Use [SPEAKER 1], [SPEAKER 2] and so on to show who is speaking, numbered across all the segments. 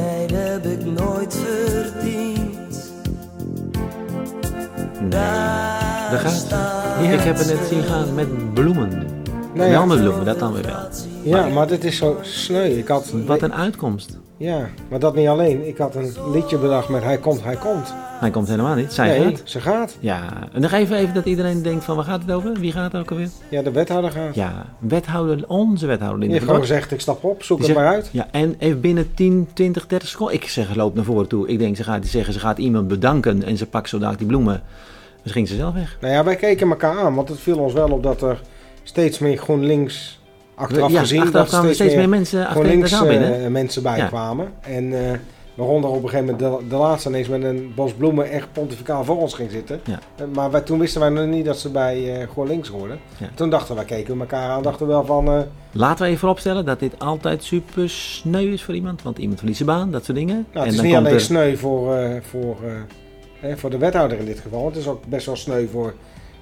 [SPEAKER 1] heb ik nooit verdiend. Daar
[SPEAKER 2] Daar gaat
[SPEAKER 1] staat
[SPEAKER 2] Ik heb het net zien gaan met bloemen.
[SPEAKER 3] Nee.
[SPEAKER 2] Wel met bloemen, dat dan weer wel.
[SPEAKER 3] Ja, maar dit is zo sneu. Ik had,
[SPEAKER 2] Wat een uitkomst.
[SPEAKER 3] Ja, maar dat niet alleen. Ik had een liedje bedacht met Hij komt, hij komt.
[SPEAKER 2] Hij komt helemaal niet. Zij
[SPEAKER 3] nee,
[SPEAKER 2] gaat.
[SPEAKER 3] ze gaat.
[SPEAKER 2] Ja, en nog even, even dat iedereen denkt van waar gaat het over? Wie gaat het ook alweer?
[SPEAKER 3] Ja, de wethouder gaat.
[SPEAKER 2] Ja, wethouder, onze wethouder
[SPEAKER 3] Die
[SPEAKER 2] in
[SPEAKER 3] heeft
[SPEAKER 2] de
[SPEAKER 3] gewoon gezegd, ik stap op, zoek het maar uit.
[SPEAKER 2] Ja, en even binnen 10, 20, 30 seconden. Ik zeg, loop naar voren toe. Ik denk, ze gaat, die zeggen, ze gaat iemand bedanken en ze pakt zo dadelijk die bloemen. Dus ging ze zelf weg.
[SPEAKER 3] Nou ja, wij keken elkaar aan, want het viel ons wel op dat er steeds meer GroenLinks, achteraf
[SPEAKER 2] ja,
[SPEAKER 3] gezien,
[SPEAKER 2] achteraf
[SPEAKER 3] dat
[SPEAKER 2] kwamen
[SPEAKER 3] er
[SPEAKER 2] steeds, meer mensen achter de
[SPEAKER 3] GroenLinks
[SPEAKER 2] zaal binnen.
[SPEAKER 3] eh, mensen bij
[SPEAKER 2] Ja.
[SPEAKER 3] kwamen. En eh, waaronder op een gegeven moment de, de laatste ineens met een bos bloemen echt pontificaal voor ons ging zitten.
[SPEAKER 2] Ja.
[SPEAKER 3] Eh, Maar wij, toen wisten wij nog niet dat ze bij eh GroenLinks hoorden.
[SPEAKER 2] Ja.
[SPEAKER 3] Toen dachten wij, keken we elkaar aan, dachten we wel van... eh,
[SPEAKER 2] Laten we even vooropstellen dat dit altijd super sneu is voor iemand. Want iemand verliest zijn baan, dat soort dingen.
[SPEAKER 3] Nou, het is niet alleen sneu voor, eh, voor, eh, hè, voor de wethouder in dit geval. Het is ook best wel sneu voor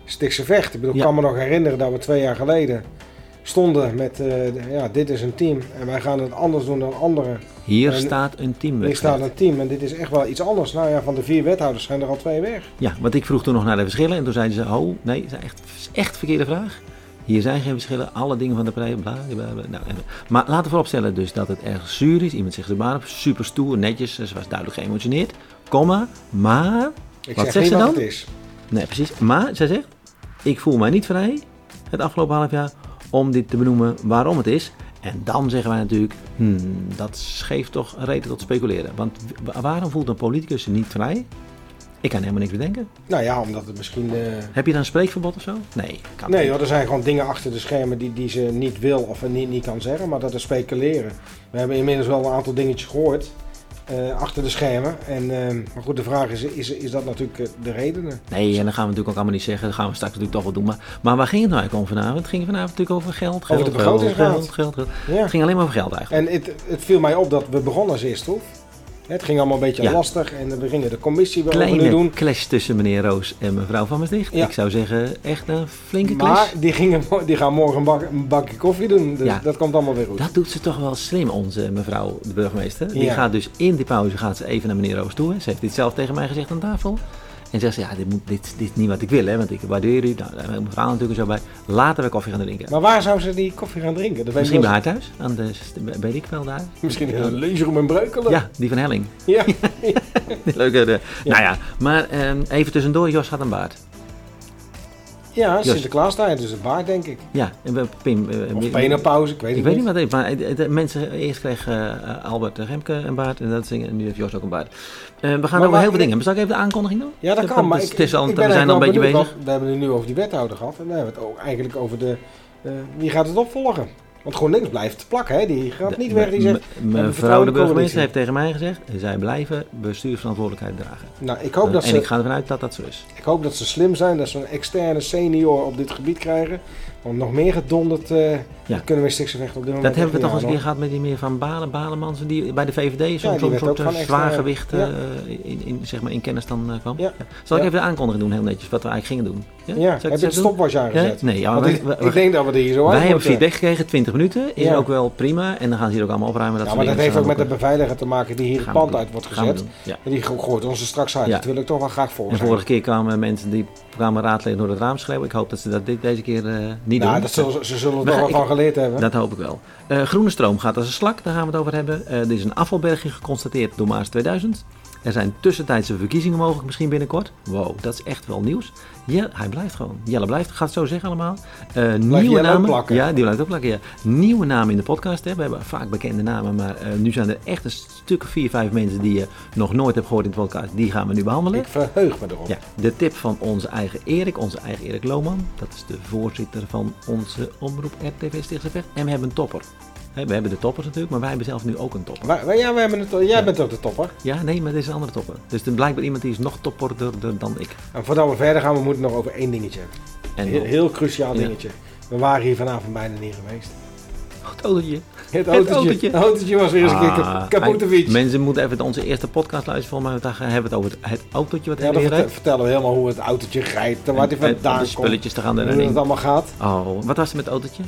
[SPEAKER 3] Stikse Vecht. Ik bedoel,
[SPEAKER 2] Ja.
[SPEAKER 3] ik kan me nog herinneren dat we twee jaar geleden stonden met... eh, de- ja, dit is een team en wij gaan het anders doen dan anderen.
[SPEAKER 2] Hier
[SPEAKER 3] en-
[SPEAKER 2] staat een
[SPEAKER 3] Hier
[SPEAKER 2] teamwedstrijd.
[SPEAKER 3] staat een team en dit is echt wel iets anders. Nou ja, van de vier wethouders zijn er al twee weg.
[SPEAKER 2] Ja, want ik vroeg toen nog naar de verschillen. En toen zeiden ze, oh nee, dat is echt, is echt verkeerde vraag. Hier zijn geen verschillen, alle dingen van de partij, bla, bla, bla, bla. Nou, en- maar laten we vooropstellen dus dat het erg zuur is. Iemand zegt de baan op, super stoer, netjes. Ze was duidelijk geëmotioneerd, comma, maar...
[SPEAKER 3] Ik
[SPEAKER 2] Wat
[SPEAKER 3] zeg
[SPEAKER 2] zegt
[SPEAKER 3] niet
[SPEAKER 2] ze
[SPEAKER 3] wat
[SPEAKER 2] dan?
[SPEAKER 3] het is.
[SPEAKER 2] Nee, precies. Maar zij zegt: Ik voel mij niet vrij het afgelopen half jaar om dit te benoemen waarom het is. En dan zeggen wij natuurlijk: hmm, dat geeft toch reden tot speculeren. Want wa- waarom voelt een politicus zich niet vrij? Ik kan helemaal niks bedenken.
[SPEAKER 3] Nou ja, omdat het misschien... eh,
[SPEAKER 2] Heb je dan een spreekverbod of zo? Nee, kan
[SPEAKER 3] Nee,
[SPEAKER 2] niet.
[SPEAKER 3] joh, er zijn gewoon dingen achter de schermen die, die ze niet wil of niet, niet kan zeggen, maar dat is speculeren. We hebben inmiddels wel een aantal dingetjes gehoord eh, achter de schermen. En, eh, maar goed, de vraag is, is, is dat natuurlijk eh, de redenen?
[SPEAKER 2] Nee, en dat gaan we natuurlijk ook allemaal niet zeggen. Dat gaan we straks natuurlijk toch wel doen. Maar, maar waar ging het nou eigenlijk om vanavond? Het ging vanavond natuurlijk over geld, geld,
[SPEAKER 3] Over de
[SPEAKER 2] geld, geld,
[SPEAKER 3] begrotingsraad.
[SPEAKER 2] geld, geld.
[SPEAKER 3] Ja.
[SPEAKER 2] Het ging alleen maar over geld eigenlijk.
[SPEAKER 3] En het, het viel mij op dat we begonnen als eerst, hoef. Het ging allemaal een beetje
[SPEAKER 2] Ja.
[SPEAKER 3] lastig en we gingen de commissie wel
[SPEAKER 2] Kleine
[SPEAKER 3] overnieuw doen.
[SPEAKER 2] clash tussen meneer Roos en mevrouw Van Maastricht.
[SPEAKER 3] Ja.
[SPEAKER 2] Ik zou zeggen, echt een flinke clash.
[SPEAKER 3] Maar die, gingen, mo- die gaan morgen een, bak, een bakje koffie doen, dus
[SPEAKER 2] Ja.
[SPEAKER 3] dat komt allemaal weer goed.
[SPEAKER 2] Dat doet ze toch wel slim, onze mevrouw de burgemeester. Die
[SPEAKER 3] Ja.
[SPEAKER 2] gaat dus in die pauze gaat ze even naar meneer Roos toe. hè. Ze heeft dit zelf tegen mij gezegd aan tafel. En zegt ze, ja, dit, moet, dit, dit is niet wat ik wil, hè, want ik waardeer u. Nou, daar hebben we verhaal natuurlijk zo bij. Laten we koffie gaan drinken.
[SPEAKER 3] Maar waar zou ze die koffie gaan drinken? Dat weet
[SPEAKER 2] Misschien
[SPEAKER 3] ik
[SPEAKER 2] bij
[SPEAKER 3] nog-
[SPEAKER 2] haar thuis, aan de, weet ik wel daar.
[SPEAKER 3] Misschien in een lunchroom in Breukelen?
[SPEAKER 2] Ja, die van Helling.
[SPEAKER 3] Ja.
[SPEAKER 2] Die Leuke, de- Nou ja, maar ehm, even tussendoor, Jos gaat een baard.
[SPEAKER 3] ja
[SPEAKER 2] Jos.
[SPEAKER 3] Sinterklaastijd, dus het baard denk ik.
[SPEAKER 2] Ja, en we- Pim... eh,
[SPEAKER 3] Of
[SPEAKER 2] we-
[SPEAKER 3] penapauze, ik weet het
[SPEAKER 2] Ik weet niet
[SPEAKER 3] niet.
[SPEAKER 2] wat het is, maar het- het- mensen, eerst kreeg eh, Albert Remke een baard en dat zingen, en nu heeft Jos ook een baard. Eh, we gaan over
[SPEAKER 3] waar-
[SPEAKER 2] heel veel dingen. Zal ik even de aankondiging doen?
[SPEAKER 3] Ja, dat kan, maar
[SPEAKER 2] Het is-
[SPEAKER 3] ik,
[SPEAKER 2] het is al,
[SPEAKER 3] ik ben
[SPEAKER 2] we zijn al een
[SPEAKER 3] eigenlijk
[SPEAKER 2] beetje
[SPEAKER 3] wel benieuwd,
[SPEAKER 2] bezig.
[SPEAKER 3] want We hebben het nu over die wethouder gehad en we hebben het ook eigenlijk over de, eh, wie gaat het opvolgen. Want GroenLinks blijft plakken, hè? die gaat niet weg. Die
[SPEAKER 2] Me-
[SPEAKER 3] zegt,
[SPEAKER 2] me- Mevrouw
[SPEAKER 3] vertrouwen
[SPEAKER 2] de
[SPEAKER 3] in de coalitie.
[SPEAKER 2] burgemeester heeft tegen mij gezegd, zij blijven bestuursverantwoordelijkheid dragen.
[SPEAKER 3] nou, ik hoop,
[SPEAKER 2] Eh,
[SPEAKER 3] dat
[SPEAKER 2] en
[SPEAKER 3] ze, Oh,
[SPEAKER 2] ik ga ervan uit dat dat zo is.
[SPEAKER 3] ik hoop dat ze slim zijn, dat ze een externe senior op dit gebied krijgen. Want nog meer gedonderd eh, dat kunnen we in Stikse vechten op dit moment
[SPEAKER 2] Dat hebben we
[SPEAKER 3] echt
[SPEAKER 2] toch eens een
[SPEAKER 3] niet
[SPEAKER 2] keer gehad met die meer van Balen, Balemans, die bij de VVD
[SPEAKER 3] Ja,
[SPEAKER 2] zo'n
[SPEAKER 3] die
[SPEAKER 2] zo'n
[SPEAKER 3] werd
[SPEAKER 2] soort
[SPEAKER 3] ook
[SPEAKER 2] eh,
[SPEAKER 3] van extra-
[SPEAKER 2] zwaar gewicht eh,
[SPEAKER 3] ja.
[SPEAKER 2] in, in, zeg maar, in kennis dan eh, kwam.
[SPEAKER 3] Ja.
[SPEAKER 2] Zal ik
[SPEAKER 3] Ja.
[SPEAKER 2] even de aankondiging doen, heel netjes, wat we eigenlijk gingen doen?
[SPEAKER 3] aan, hoor. Ja,
[SPEAKER 2] Zal ik
[SPEAKER 3] heb je
[SPEAKER 2] het
[SPEAKER 3] de
[SPEAKER 2] doen?
[SPEAKER 3] stopwatch aangezet?
[SPEAKER 2] Ja? Nee, ja,
[SPEAKER 3] Want
[SPEAKER 2] we-
[SPEAKER 3] ik,
[SPEAKER 2] we-
[SPEAKER 3] ik denk dat we er hier zo uit
[SPEAKER 2] Wij hebben
[SPEAKER 3] moeten.
[SPEAKER 2] feedback gekregen, 20 minuten. Is
[SPEAKER 3] Ja.
[SPEAKER 2] ook wel prima. En dan gaan ze hier ook allemaal opruimen. Dat
[SPEAKER 3] Ja,
[SPEAKER 2] soort
[SPEAKER 3] maar dat
[SPEAKER 2] dingen.
[SPEAKER 3] heeft ook met de
[SPEAKER 2] Gaan we eh,
[SPEAKER 3] beveiliger te maken die hier het
[SPEAKER 2] Gaan we
[SPEAKER 3] pand
[SPEAKER 2] doen.
[SPEAKER 3] uit wordt
[SPEAKER 2] gaan we
[SPEAKER 3] gezet.
[SPEAKER 2] doen. Ja.
[SPEAKER 3] En die go- gooit ons er straks uit.
[SPEAKER 2] Ja.
[SPEAKER 3] Dat wil ik toch wel graag voor
[SPEAKER 2] En
[SPEAKER 3] zijn.
[SPEAKER 2] vorige keer kwamen mensen die kwamen raadleden door het raam schreeuwen. Ik hoop dat ze dat dit, deze keer eh, niet
[SPEAKER 3] Nou,
[SPEAKER 2] doen.
[SPEAKER 3] dat zullen, ze- ze zullen er
[SPEAKER 2] We
[SPEAKER 3] toch
[SPEAKER 2] gaan-
[SPEAKER 3] wel van geleerd hebben.
[SPEAKER 2] Dat hoop ik wel. Eh, groene stroom gaat als een slak, daar gaan we het over hebben. Eh, er is een afvalberging geconstateerd door Maas 2000. Er zijn tussentijdse verkiezingen mogelijk misschien binnenkort. Wow, dat is echt wel nieuws. Ja, hij blijft gewoon. Jelle blijft, gaat het zo zeggen allemaal. Eh, nieuwe
[SPEAKER 3] Jelle ook
[SPEAKER 2] namen.
[SPEAKER 3] plakken?
[SPEAKER 2] Ja, die blijft ook plakken. Ja. Nieuwe namen in de podcast. Hè. We hebben vaak bekende namen, maar eh, nu zijn er echt een stuk of vier, vijf mensen die je nog nooit hebt gehoord in de podcast. Die gaan we nu behandelen.
[SPEAKER 3] Ik verheug me erop.
[SPEAKER 2] Ja, de tip van onze eigen Erik, onze eigen Erik Lohman. Dat is de voorzitter van onze omroep RTV Stichtse Vecht. En we hebben een topper. Hè, We hebben de toppers natuurlijk, maar wij hebben zelf nu ook een topper.
[SPEAKER 3] Wij- wij- ja, wij hebben het, jij
[SPEAKER 2] Ja.
[SPEAKER 3] bent ook de topper.
[SPEAKER 2] Ja, nee, maar dit is een andere topper. Dus er is blijkbaar iemand die is nog topperder dan ik.
[SPEAKER 3] En voordat we verder gaan, we moeten nog over één dingetje hebben.
[SPEAKER 2] En
[SPEAKER 3] Heel, heel cruciaal
[SPEAKER 2] Ja.
[SPEAKER 3] dingetje. We waren hier vanavond bijna niet geweest.
[SPEAKER 2] het autootje.
[SPEAKER 3] Het autootje, het
[SPEAKER 2] autootje.
[SPEAKER 3] autootje. was weer eens een keer
[SPEAKER 2] Ah,
[SPEAKER 3] kap- kapot de fiets.
[SPEAKER 2] Mensen moeten even onze eerste podcast luisteren. Volgens mij hebben we het over het, het autootje wat
[SPEAKER 3] Ja,
[SPEAKER 2] hij
[SPEAKER 3] dan
[SPEAKER 2] weer
[SPEAKER 3] verte-
[SPEAKER 2] rijdt.
[SPEAKER 3] vertellen we helemaal hoe het autootje rijdt, en waar hij
[SPEAKER 2] En- en
[SPEAKER 3] vandaan
[SPEAKER 2] de
[SPEAKER 3] komt,
[SPEAKER 2] spulletjes te gaan
[SPEAKER 3] en hoe het
[SPEAKER 2] erin.
[SPEAKER 3] allemaal gaat.
[SPEAKER 2] Oh, wat was er met het autootje?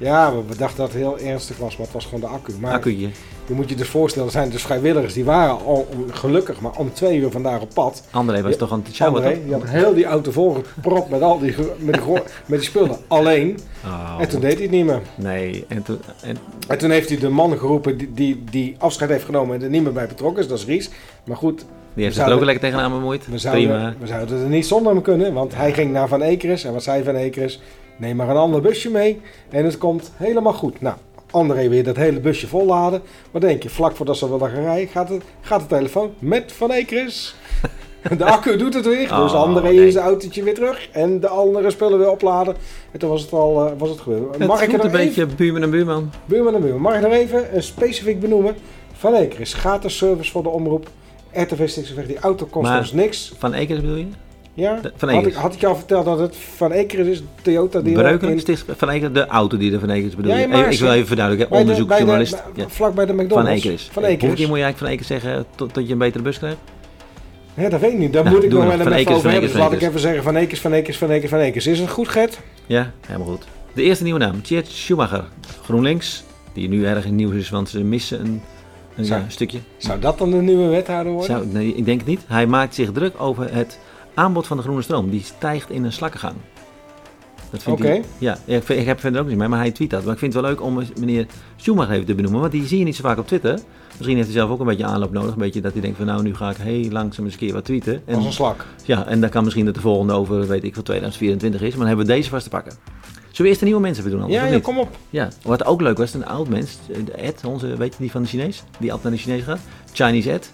[SPEAKER 3] Ja, we we dachten dat het heel ernstig was, maar het was gewoon de accu. Maar
[SPEAKER 2] Accu'tje.
[SPEAKER 3] je moet je dus voorstellen, er zijn dus vrijwilligers die waren al om- gelukkig, maar om twee uur vandaag op pad.
[SPEAKER 2] André was
[SPEAKER 3] Ja,
[SPEAKER 2] toch aan het sjouwen,
[SPEAKER 3] André, die had heel die auto volgepropt met al die, ge- met die, gro- met die spullen. Alleen.
[SPEAKER 2] toch? Oh,
[SPEAKER 3] En toen deed hij het niet meer.
[SPEAKER 2] Nee, en toen... En,
[SPEAKER 3] En toen heeft hij de man geroepen die, die, die afscheid heeft genomen en er niet meer bij betrokken is, dat is Ries. Maar goed,
[SPEAKER 2] die heeft zich er
[SPEAKER 3] zouden-
[SPEAKER 2] ook lekker tegenaan bemoeid.
[SPEAKER 3] we
[SPEAKER 2] Prima.
[SPEAKER 3] zouden, we zouden er niet zonder hem kunnen, want hij ging naar Van Ekeres en wat zei Van Ekeres? Neem maar een ander busje mee en het komt helemaal goed. Nou, André weer dat hele busje volladen. Wat denk je, vlak voordat ze willen gaan rijden, gaat, het, gaat de telefoon met Van Ekeres. De accu doet het weer,
[SPEAKER 2] Oh,
[SPEAKER 3] dus André
[SPEAKER 2] nee.
[SPEAKER 3] is de autootje weer terug en de andere spullen weer opladen. En toen was het al eh, was het gebeurd.
[SPEAKER 2] Het
[SPEAKER 3] er
[SPEAKER 2] voelt een
[SPEAKER 3] nog even-
[SPEAKER 2] beetje buurman en buurman.
[SPEAKER 3] Buurman en buurman, mag ik nog even een specifiek benoemen? Van Eker is gratis service voor de omroep. RTV Stikseweg, die auto kost
[SPEAKER 2] Maar-
[SPEAKER 3] ons niks.
[SPEAKER 2] Van Ekers bedoel je?
[SPEAKER 3] Ja?
[SPEAKER 2] De- Van
[SPEAKER 3] had,
[SPEAKER 2] Eekers.
[SPEAKER 3] ik, had ik jou verteld dat het Van Eker is, Toyota die
[SPEAKER 2] Breukelen, Stichts- Van Ekers, de auto die er Van Ekers bedoelt.
[SPEAKER 3] Ja,
[SPEAKER 2] ik
[SPEAKER 3] maar
[SPEAKER 2] ik wil
[SPEAKER 3] ze-
[SPEAKER 2] even verduidelijken,
[SPEAKER 3] bij de- bij de-
[SPEAKER 2] onderzoeksjournalist.
[SPEAKER 3] bij-
[SPEAKER 2] ja.
[SPEAKER 3] Vlak bij de McDonald's.
[SPEAKER 2] Van Ekers.
[SPEAKER 3] Van
[SPEAKER 2] Hoeveel keer
[SPEAKER 3] Eker.
[SPEAKER 2] moet je eigenlijk Van Ekers zeggen tot, tot je een betere bus krijgt?
[SPEAKER 3] Ja, dat weet ik niet. Daar
[SPEAKER 2] Nou,
[SPEAKER 3] moet ik
[SPEAKER 2] doe
[SPEAKER 3] nog
[SPEAKER 2] nog.
[SPEAKER 3] wel
[SPEAKER 2] Van
[SPEAKER 3] even
[SPEAKER 2] Eekers,
[SPEAKER 3] over
[SPEAKER 2] Van
[SPEAKER 3] hebben. Dus
[SPEAKER 2] Eekers,
[SPEAKER 3] laat ik
[SPEAKER 2] Van
[SPEAKER 3] even zeggen Van Ekers, Van Ekers, Van Ekers, Van Ekers. Is het goed, Gert?
[SPEAKER 2] Ja, helemaal goed. De eerste nieuwe naam, Tjeerd Schumacher, GroenLinks. Die nu erg in het nieuws is, want ze missen een, een
[SPEAKER 3] Zou-
[SPEAKER 2] ja, stukje.
[SPEAKER 3] Zou dat dan de nieuwe wethouder worden?
[SPEAKER 2] Zou, nee, ik denk het niet. Hij maakt zich druk over het aanbod van de groene stroom. Die stijgt in een slakkengang. Dat vindt hij.
[SPEAKER 3] Oké.
[SPEAKER 2] Ja, ja, ik, vind- ik heb verder ook niet mee, maar hij tweet dat. Maar ik vind het wel leuk om eens meneer Schumacher even te benoemen, want die zie je niet zo vaak op Twitter. Misschien heeft hij zelf ook een beetje aanloop nodig. Een beetje dat hij denkt van nou, nu ga ik heel langzaam eens een keer wat tweeten. En,
[SPEAKER 3] Als een slak.
[SPEAKER 2] ja, en dan kan misschien dat de volgende over, weet ik wat, 2024 is. Maar dan hebben we deze vast te pakken. Zullen we eerst de nieuwe mensen even doen? anders,
[SPEAKER 3] Ja,
[SPEAKER 2] of
[SPEAKER 3] ja,
[SPEAKER 2] niet?
[SPEAKER 3] kom op.
[SPEAKER 2] Ja, wat ook leuk was, een oud mens, eh, Ed, onze, weet je die van de Chinees, die altijd naar de Chinees gaat, Chinese Ed.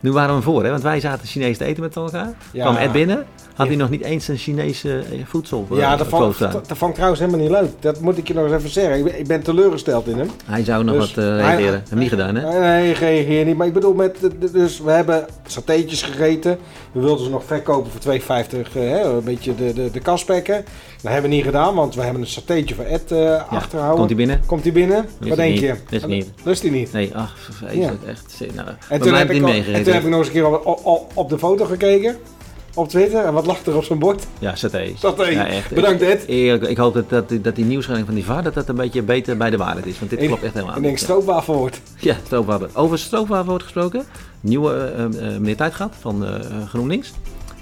[SPEAKER 2] Nu waren we voor, hè, want wij zaten Chinees te eten met elkaar.
[SPEAKER 3] Ja.
[SPEAKER 2] Kwam Ed binnen, had hij
[SPEAKER 3] Ja.
[SPEAKER 2] nog niet eens een Chinese eh, voedsel eh,
[SPEAKER 3] Ja, dat
[SPEAKER 2] foto
[SPEAKER 3] vond,
[SPEAKER 2] staan.
[SPEAKER 3] dat vond ik trouwens helemaal niet leuk. Dat moet ik je nog eens even zeggen. Ik ben, ik ben teleurgesteld in hem.
[SPEAKER 2] Hij zou nog
[SPEAKER 3] Dus
[SPEAKER 2] wat eh,
[SPEAKER 3] hij-
[SPEAKER 2] reageren, heb hem niet gedaan, hè?
[SPEAKER 3] Nee, nee, reageer niet. Maar ik bedoel, met, de- de- dus we hebben satéetjes gegeten. We wilden ze nog verkopen voor 2,50. eh, hè, een beetje de, de, de kaspekken. Dat hebben we niet gedaan, want we hebben een satéetje voor Ed eh,
[SPEAKER 2] Ja,
[SPEAKER 3] achterhouden.
[SPEAKER 2] Komt hij binnen?
[SPEAKER 3] Komt hij binnen? Wat
[SPEAKER 2] hij
[SPEAKER 3] denk
[SPEAKER 2] niet.
[SPEAKER 3] je?
[SPEAKER 2] Lust hij niet.
[SPEAKER 3] Lust hij niet.
[SPEAKER 2] Nee, ach, vreselijk, echt. Nou,
[SPEAKER 3] En
[SPEAKER 2] en
[SPEAKER 3] toen, heb
[SPEAKER 2] niet
[SPEAKER 3] ik, al- en toen heb ik
[SPEAKER 2] meegegeten.
[SPEAKER 3] nog eens een keer op, op, op de foto gekeken. Op Twitter. En wat lag er op zijn bord?
[SPEAKER 2] Ja, saté.
[SPEAKER 3] Saté.
[SPEAKER 2] Ja, echt.
[SPEAKER 3] Bedankt Ed.
[SPEAKER 2] Eerlijk, ik hoop dat, dat, die- dat die nieuwsgeving van die vader dat dat een beetje beter bij de waarheid is, want dit
[SPEAKER 3] Ik-
[SPEAKER 2] klopt echt helemaal
[SPEAKER 3] Ik denk
[SPEAKER 2] niet.
[SPEAKER 3] stroopwafel wordt.
[SPEAKER 2] Ja, stroopwapen. Over stroopwapen wordt gesproken. Nieuwe eh, eh, meneer Tijdgat van eh, GroenLinks.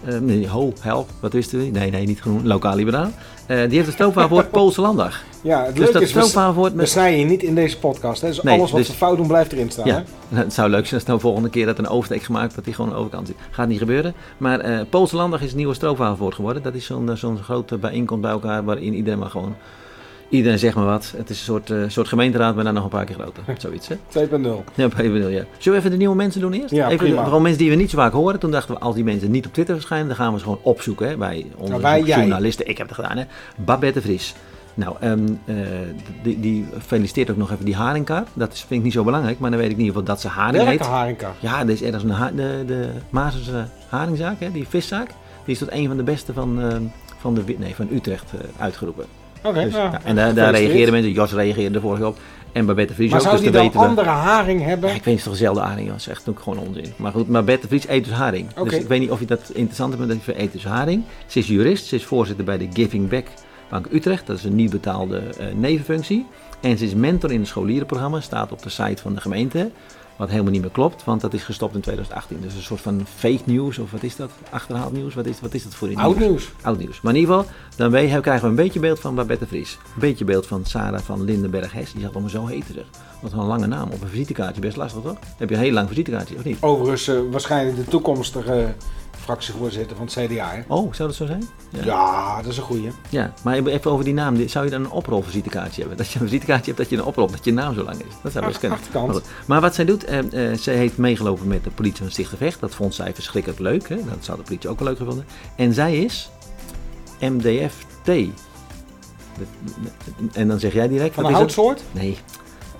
[SPEAKER 2] Eh, nee, ho, help, wat wisten we? Nee, nee, niet groen, lokaal liberaal. Eh, die heeft een stroopwapenwoord Poolse landag.
[SPEAKER 3] Ja, het
[SPEAKER 2] Dus
[SPEAKER 3] leuke
[SPEAKER 2] dat
[SPEAKER 3] is, we,
[SPEAKER 2] stroopwapenwoord
[SPEAKER 3] we
[SPEAKER 2] met...
[SPEAKER 3] snijden je niet in deze podcast. Hè. Dus
[SPEAKER 2] Nee,
[SPEAKER 3] alles wat
[SPEAKER 2] dus-
[SPEAKER 3] we fout doen blijft erin staan.
[SPEAKER 2] Ja,
[SPEAKER 3] hè.
[SPEAKER 2] nou, het zou leuk zijn als dan de volgende keer dat een oversteek gemaakt dat die gewoon aan de overkant zit. Gaat niet gebeuren. Maar eh Poolse landag is het nieuwe stroopwapenwoord geworden. Dat is zo'n eh, zo'n grote bijeenkomst bij elkaar waarin iedereen maar gewoon... Iedereen zegt maar wat. Het is een soort, eh, soort gemeenteraad, maar dan nog een paar keer groter.
[SPEAKER 3] Hm.
[SPEAKER 2] Zoiets, hè?
[SPEAKER 3] 2.0.
[SPEAKER 2] Ja, op één manier, ja. Zullen we even de nieuwe mensen doen eerst?
[SPEAKER 3] Ja,
[SPEAKER 2] even
[SPEAKER 3] prima.
[SPEAKER 2] De, gewoon mensen die we niet zo vaak horen. Toen dachten we, als die mensen niet op Twitter verschijnen, dan gaan we ze gewoon opzoeken. Hè, bij onze
[SPEAKER 3] Nou, wij, jij.
[SPEAKER 2] journalisten. Ik heb het gedaan, hè. Babette Vries. Nou, ehm, eh, die, die feliciteert ook nog even die haringkaart. Dat is, vind ik niet zo belangrijk, maar dan weet ik in ieder geval dat ze haring
[SPEAKER 3] Welke
[SPEAKER 2] heet.
[SPEAKER 3] haringka?
[SPEAKER 2] Ja, er is ergens een ha- de, de Maasense haringzaak, hè, die viszaak. Die is tot een van de beste van, ehm, van, de, wi- nee, van Utrecht eh, uitgeroepen.
[SPEAKER 3] Oké,
[SPEAKER 2] Dus,
[SPEAKER 3] ja.
[SPEAKER 2] ja, en daar, daar
[SPEAKER 3] Gefeliciteerd.
[SPEAKER 2] reageerden mensen. Jos reageerde er vorige op. En Babette Vries
[SPEAKER 3] Maar
[SPEAKER 2] ook.
[SPEAKER 3] zou
[SPEAKER 2] dus
[SPEAKER 3] die
[SPEAKER 2] dan
[SPEAKER 3] dan
[SPEAKER 2] weten we-
[SPEAKER 3] andere haring hebben?
[SPEAKER 2] ja, ik weet niet of het toch dezelfde haring was. Echt ook gewoon onzin. Maar goed, maar Bert de Vries eet dus haring.
[SPEAKER 3] Oké.
[SPEAKER 2] Dus ik weet niet of je dat interessant vindt, maar ze eet dus haring. Ze is jurist, ze is voorzitter bij de Giving Back Bank Utrecht. Dat is een niet betaalde eh, nevenfunctie. En ze is mentor in het scholierenprogramma, staat op de site van de gemeente. Wat helemaal niet meer klopt, want dat is gestopt in 2018. Dus een soort van fake news, of wat is dat? Achterhaald nieuws? Wat is, wat is dat voor een
[SPEAKER 3] Oud nieuws.
[SPEAKER 2] Oud nieuws. Maar in ieder geval, dan we- krijgen we een beetje beeld van Babette Vries. Een beetje beeld van Sarah van Lindenberg-Hess. Die zat allemaal zo heten zeg. Wat een lange naam op een visitekaartje. Best lastig toch? Heb je een heel lang visitekaartje of niet?
[SPEAKER 3] Overigens eh, waarschijnlijk de toekomstige eh, fractievoorzitter van het CDA. Hè?
[SPEAKER 2] Oh, zou dat zo zijn?
[SPEAKER 3] Ja.
[SPEAKER 2] ja.
[SPEAKER 3] dat is een goeie.
[SPEAKER 2] Ja, Maar even over die naam. Die- Zou je dan een oprolvisitekaartje hebben? Dat je een visitekaartje hebt dat je een oprol, dat je naam zo lang is. Dat zou best
[SPEAKER 3] Ach,
[SPEAKER 2] kunnen.
[SPEAKER 3] achterkant.
[SPEAKER 2] Maar goed. Maar wat zij doet, eh, eh, zij heeft meegelopen met de politie van Stichtgevecht. Dat vond zij verschrikkelijk leuk. Hè? Dat zou de politie ook wel leuk gevonden. En zij is MDFT. Dat- En dan zeg jij direct...
[SPEAKER 3] Van
[SPEAKER 2] wat
[SPEAKER 3] een
[SPEAKER 2] is dat?
[SPEAKER 3] houtsoort?
[SPEAKER 2] Nee,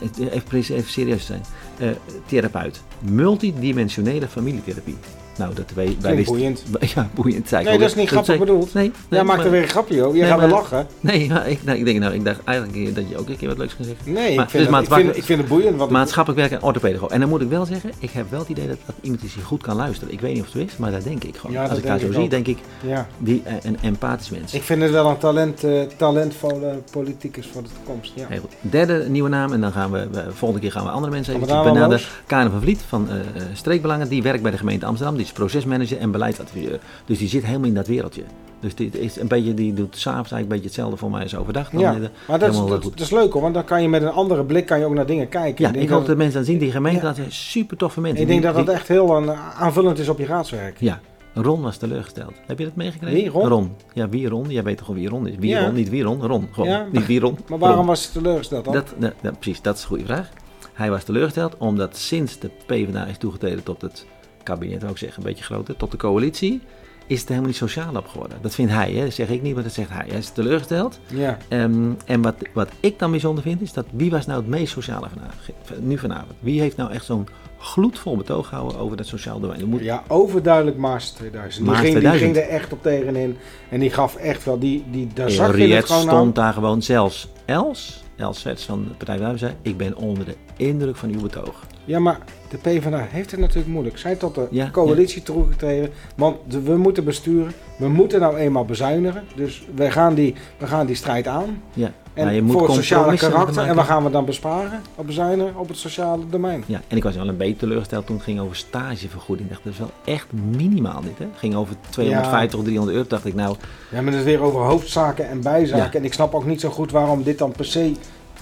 [SPEAKER 2] Het- eh, even, pre- even serieus zijn. eh, therapeut. Multidimensionele familietherapie. Nou, dat wij, wij
[SPEAKER 3] Klinkt
[SPEAKER 2] wisten.
[SPEAKER 3] boeiend.
[SPEAKER 2] Ja, boeiend zei ik
[SPEAKER 3] Nee,
[SPEAKER 2] al.
[SPEAKER 3] dat is niet grappig
[SPEAKER 2] zei-
[SPEAKER 3] bedoeld.
[SPEAKER 2] Nee, nee,
[SPEAKER 3] Jij maakt
[SPEAKER 2] maar-
[SPEAKER 3] er weer een grapje joh. Jij
[SPEAKER 2] Nee,
[SPEAKER 3] gaat weer
[SPEAKER 2] maar-
[SPEAKER 3] lachen.
[SPEAKER 2] Nee, maar ik, nou, ik denk nou, ik dacht eigenlijk dat je ook een keer wat leuks kan zeggen.
[SPEAKER 3] Nee,
[SPEAKER 2] Maar
[SPEAKER 3] ik, vind
[SPEAKER 2] dus
[SPEAKER 3] het, ik, vind,
[SPEAKER 2] maatschappelijk-
[SPEAKER 3] ik vind het boeiend. Wat ik,
[SPEAKER 2] Maatschappelijk werk en orthopedago. En dan moet ik wel zeggen, ik heb wel het idee dat, dat iemand is die goed kan luisteren. Ik weet niet of het zo is, maar dat denk ik gewoon.
[SPEAKER 3] Ja,
[SPEAKER 2] Als
[SPEAKER 3] dat
[SPEAKER 2] ik haar zo
[SPEAKER 3] denk ik
[SPEAKER 2] zie,
[SPEAKER 3] ook.
[SPEAKER 2] denk ik
[SPEAKER 3] ja.
[SPEAKER 2] die, eh, een empathisch mens.
[SPEAKER 3] ik vind het wel een talent, eh, talentvolle politicus voor de toekomst. Ja.
[SPEAKER 2] Heel goed. Derde nieuwe naam en dan gaan we, we- volgende keer gaan we andere mensen
[SPEAKER 3] Gaan
[SPEAKER 2] even
[SPEAKER 3] we daar wel
[SPEAKER 2] benaderen. Karen van Vliet van eh, eh, Streekbelangen, die werkt bij de gemeente Amsterdam. Die is procesmanager en beleidsadviseur. Dus die zit helemaal in dat wereldje. Dus die, is een beetje, die doet s'avonds eigenlijk een beetje hetzelfde voor mij als overdag. Dan,
[SPEAKER 3] Ja,
[SPEAKER 2] eh,
[SPEAKER 3] maar dat is,
[SPEAKER 2] helemaal
[SPEAKER 3] dat,
[SPEAKER 2] goed.
[SPEAKER 3] dat is leuk hoor, want dan kan je met een andere blik kan je ook naar dingen kijken.
[SPEAKER 2] ja,
[SPEAKER 3] denk
[SPEAKER 2] ik hoop
[SPEAKER 3] dat,
[SPEAKER 2] dat mensen dan zien die gemeente,
[SPEAKER 3] Ja.
[SPEAKER 2] dat zijn super toffe mensen.
[SPEAKER 3] ik denk dat
[SPEAKER 2] Die-
[SPEAKER 3] dat echt heel aan- aanvullend is op je raadswerk.
[SPEAKER 2] Ja, Ron was teleurgesteld. Heb je dat meegekregen?
[SPEAKER 3] Wie, Ron?
[SPEAKER 2] Ja, wie Ron? Jij weet toch wel wie Ron is? Wie
[SPEAKER 3] Ja.
[SPEAKER 2] Ron? Niet wie Ron, Ron. Gewoon,
[SPEAKER 3] Ja.
[SPEAKER 2] niet wie Ron.
[SPEAKER 3] Maar waarom
[SPEAKER 2] Ron.
[SPEAKER 3] was het teleurgesteld dan?
[SPEAKER 2] Dat, nou, nou, precies, dat is een goede vraag. Hij was teleurgesteld omdat sinds de PvdA is toegetreden tot het kabinet, ook zeggen, een beetje groter, tot de coalitie, is het helemaal niet sociaal op geworden. Dat vindt hij, hè? dat zeg ik niet, maar dat zegt hij. Hij is teleurgesteld.
[SPEAKER 3] Ja.
[SPEAKER 2] Ehm, en wat, wat ik dan bijzonder vind, is dat wie was nou het meest sociale vanavond, nu vanavond? Wie heeft nou echt zo'n gloedvol betoog gehouden over dat sociaal domein? Er moet
[SPEAKER 3] Ja, overduidelijk Maas 2000.
[SPEAKER 2] Maas
[SPEAKER 3] die, ging, die
[SPEAKER 2] 2000.
[SPEAKER 3] ging er echt op tegenin. En die gaf echt wel, die, die, daar zag je het
[SPEAKER 2] Henriette
[SPEAKER 3] gewoon
[SPEAKER 2] stond
[SPEAKER 3] aan.
[SPEAKER 2] daar gewoon zelfs. Els, Els Vets van de Partij Wim zei, ik ben onder de indruk van uw betoog.
[SPEAKER 3] Ja, maar de PvdA heeft het natuurlijk moeilijk. Zij tot de
[SPEAKER 2] Ja,
[SPEAKER 3] coalitie toegetreden. Want de- we moeten besturen. We moeten nou eenmaal bezuinigen. Dus we gaan die, we gaan die strijd aan.
[SPEAKER 2] Ja,
[SPEAKER 3] En
[SPEAKER 2] maar je moet
[SPEAKER 3] voor het sociale
[SPEAKER 2] compromissen
[SPEAKER 3] karakter. En
[SPEAKER 2] maken.
[SPEAKER 3] waar gaan we dan besparen? Op bezuinigen op het sociale domein.
[SPEAKER 2] Ja, en ik was wel een beetje teleurgesteld toen het ging over stagevergoeding. Ik dacht, dat is wel echt minimaal dit, hè? Het ging over 250 of 300 euro. dacht ik, nou,
[SPEAKER 3] Ja, maar het is weer over hoofdzaken en bijzaken.
[SPEAKER 2] Ja.
[SPEAKER 3] En ik snap ook niet zo goed waarom dit dan per se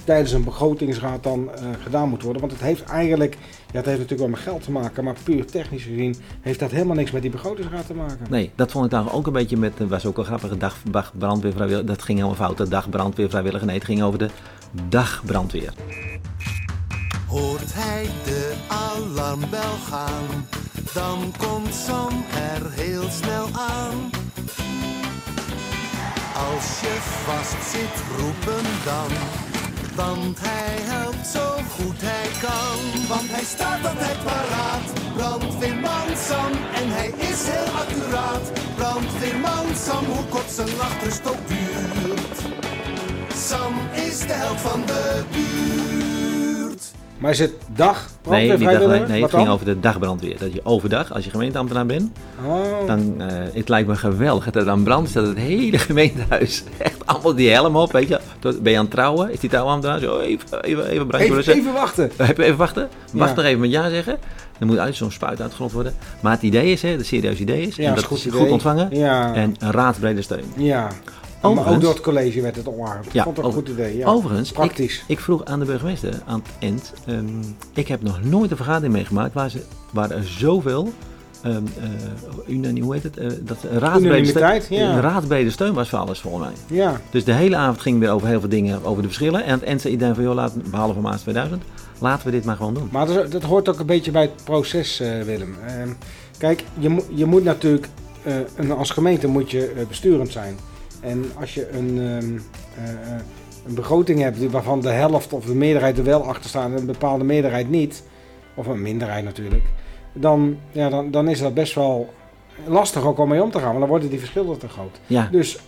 [SPEAKER 3] tijdens een begrotingsraad dan eh, gedaan moet worden. Want het heeft eigenlijk, ja, het heeft natuurlijk wel met geld te maken, maar puur technisch gezien heeft dat helemaal niks met die begrotingsraad te maken.
[SPEAKER 2] nee, dat vond ik dan ook een beetje met... Het was ook wel grappig, dag dag brandweervrijwilliger. Dat ging helemaal fout, de dag brandweervrijwilliger. Nee, het ging over de dagbrandweer.
[SPEAKER 1] Hoort hij de alarmbel gaan, dan komt Sam er heel snel aan. Als je vast zit, roep hem dan, want hij helpt zo goed hij kan. Want hij staat altijd paraat, brandweerman Sam, en hij is heel accuraat. Brandweerman Sam, hoe kort zijn nachtrust ook duurt. Sam is de held van de buurt.
[SPEAKER 3] Maar is het dag?
[SPEAKER 2] Nee, die dag,
[SPEAKER 3] brandweervrijwilliger?
[SPEAKER 2] nee het
[SPEAKER 3] Wat
[SPEAKER 2] ging
[SPEAKER 3] dan?
[SPEAKER 2] over de dagbrandweer. Dat je overdag, als je gemeenteambtenaar bent,
[SPEAKER 3] Oh.
[SPEAKER 2] dan, eh, het lijkt me geweldig dat er dan brandt staat het hele gemeentehuis. Echt allemaal die helm op, weet je. Tot- Ben je aan het trouwen? Is die trouwambtenaar? Zo, even, even, even
[SPEAKER 3] even,
[SPEAKER 2] brandje
[SPEAKER 3] even wachten.
[SPEAKER 2] Even, even wachten. Wacht
[SPEAKER 3] Ja.
[SPEAKER 2] nog even met ja zeggen. Dan moet uit zo'n spuit uitgerond worden. Maar het idee is, hè, het serieus idee is, en
[SPEAKER 3] is
[SPEAKER 2] dat
[SPEAKER 3] een goed
[SPEAKER 2] is
[SPEAKER 3] idee.
[SPEAKER 2] goed ontvangen.
[SPEAKER 3] Ja.
[SPEAKER 2] En een raadbrede steun.
[SPEAKER 3] Ja. Maar ook
[SPEAKER 2] Overigens-
[SPEAKER 3] door het college werd het omarmd. Ik vond het een
[SPEAKER 2] over-
[SPEAKER 3] goed idee. Ja.
[SPEAKER 2] Overigens,
[SPEAKER 3] Praktisch.
[SPEAKER 2] Ik, ik vroeg aan de burgemeester aan het eind. ehm, ik heb nog nooit een vergadering meegemaakt waar, ze, waar er zoveel. ehm eh unani- hoe heet het? eh, dat er raadbrede steun,
[SPEAKER 3] Unanimiteit, ja.
[SPEAKER 2] een raadbrede steun was voor alles volgens mij.
[SPEAKER 3] Ja.
[SPEAKER 2] Dus de hele avond ging weer over heel veel dingen, over de verschillen. En aan het eind zei iedereen van, joh, laat, behalve Maas 2000, laten we dit maar gewoon doen.
[SPEAKER 3] Maar dat, is- dat hoort ook een beetje bij het proces, eh, Willem. Ehm, kijk, je, moet- je moet natuurlijk, eh, een, als gemeente moet je eh, besturend zijn. En als je een, ehm, eh, eh, een begroting hebt die- waarvan de helft of de meerderheid er wel achter staat en een bepaalde meerderheid niet, of een minderheid natuurlijk, dan, ja, dan, dan is dat best wel lastig ook om mee om te gaan, want dan worden die verschillen te groot.
[SPEAKER 2] Ja,
[SPEAKER 3] Dus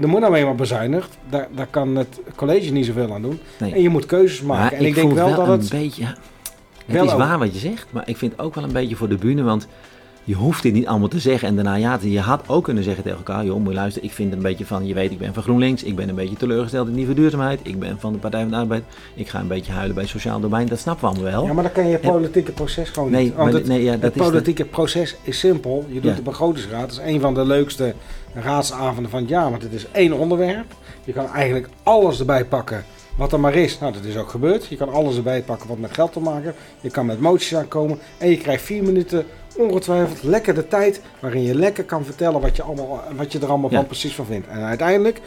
[SPEAKER 3] er moet nou eenmaal bezuinigd, daar, daar kan het college niet zoveel aan doen.
[SPEAKER 2] nee.
[SPEAKER 3] En je moet keuzes maken.
[SPEAKER 2] Maar
[SPEAKER 3] en ik, denk
[SPEAKER 2] voel
[SPEAKER 3] wel, dat
[SPEAKER 2] een
[SPEAKER 3] het.
[SPEAKER 2] beetje. ja, Het
[SPEAKER 3] wel
[SPEAKER 2] is
[SPEAKER 3] ook-
[SPEAKER 2] waar wat je zegt, maar ik vind het ook wel een beetje voor de bühne, want je hoeft dit niet allemaal te zeggen en daarna ja, te- je had ook kunnen zeggen tegen elkaar, joh, moet je luisteren, ik vind het een beetje van, je weet, ik ben van GroenLinks, ik ben een beetje teleurgesteld in die verduurzaamheid, ik ben van de Partij van de Arbeid, ik ga een beetje huilen bij het sociaal domein, dat snappen we allemaal wel.
[SPEAKER 3] Ja, maar dan kan je het politieke proces gewoon
[SPEAKER 2] Oh. Nee,
[SPEAKER 3] niet. Want
[SPEAKER 2] maar
[SPEAKER 3] het,
[SPEAKER 2] nee, ja, dat
[SPEAKER 3] het
[SPEAKER 2] is de-
[SPEAKER 3] politieke proces is simpel. Je doet
[SPEAKER 2] Ja.
[SPEAKER 3] de begrotingsraad. Dat is een van de leukste raadsavonden van het jaar. Want het is één onderwerp. Je kan eigenlijk alles erbij pakken wat er maar is. Nou, dat is ook gebeurd. Je kan alles erbij pakken wat met geld te maken heeft. Je kan met moties aankomen. En je krijgt vier minuten ongetwijfeld lekker de tijd waarin je lekker kan vertellen wat je, allemaal, wat je er allemaal
[SPEAKER 2] Ja.
[SPEAKER 3] van precies van vindt. En uiteindelijk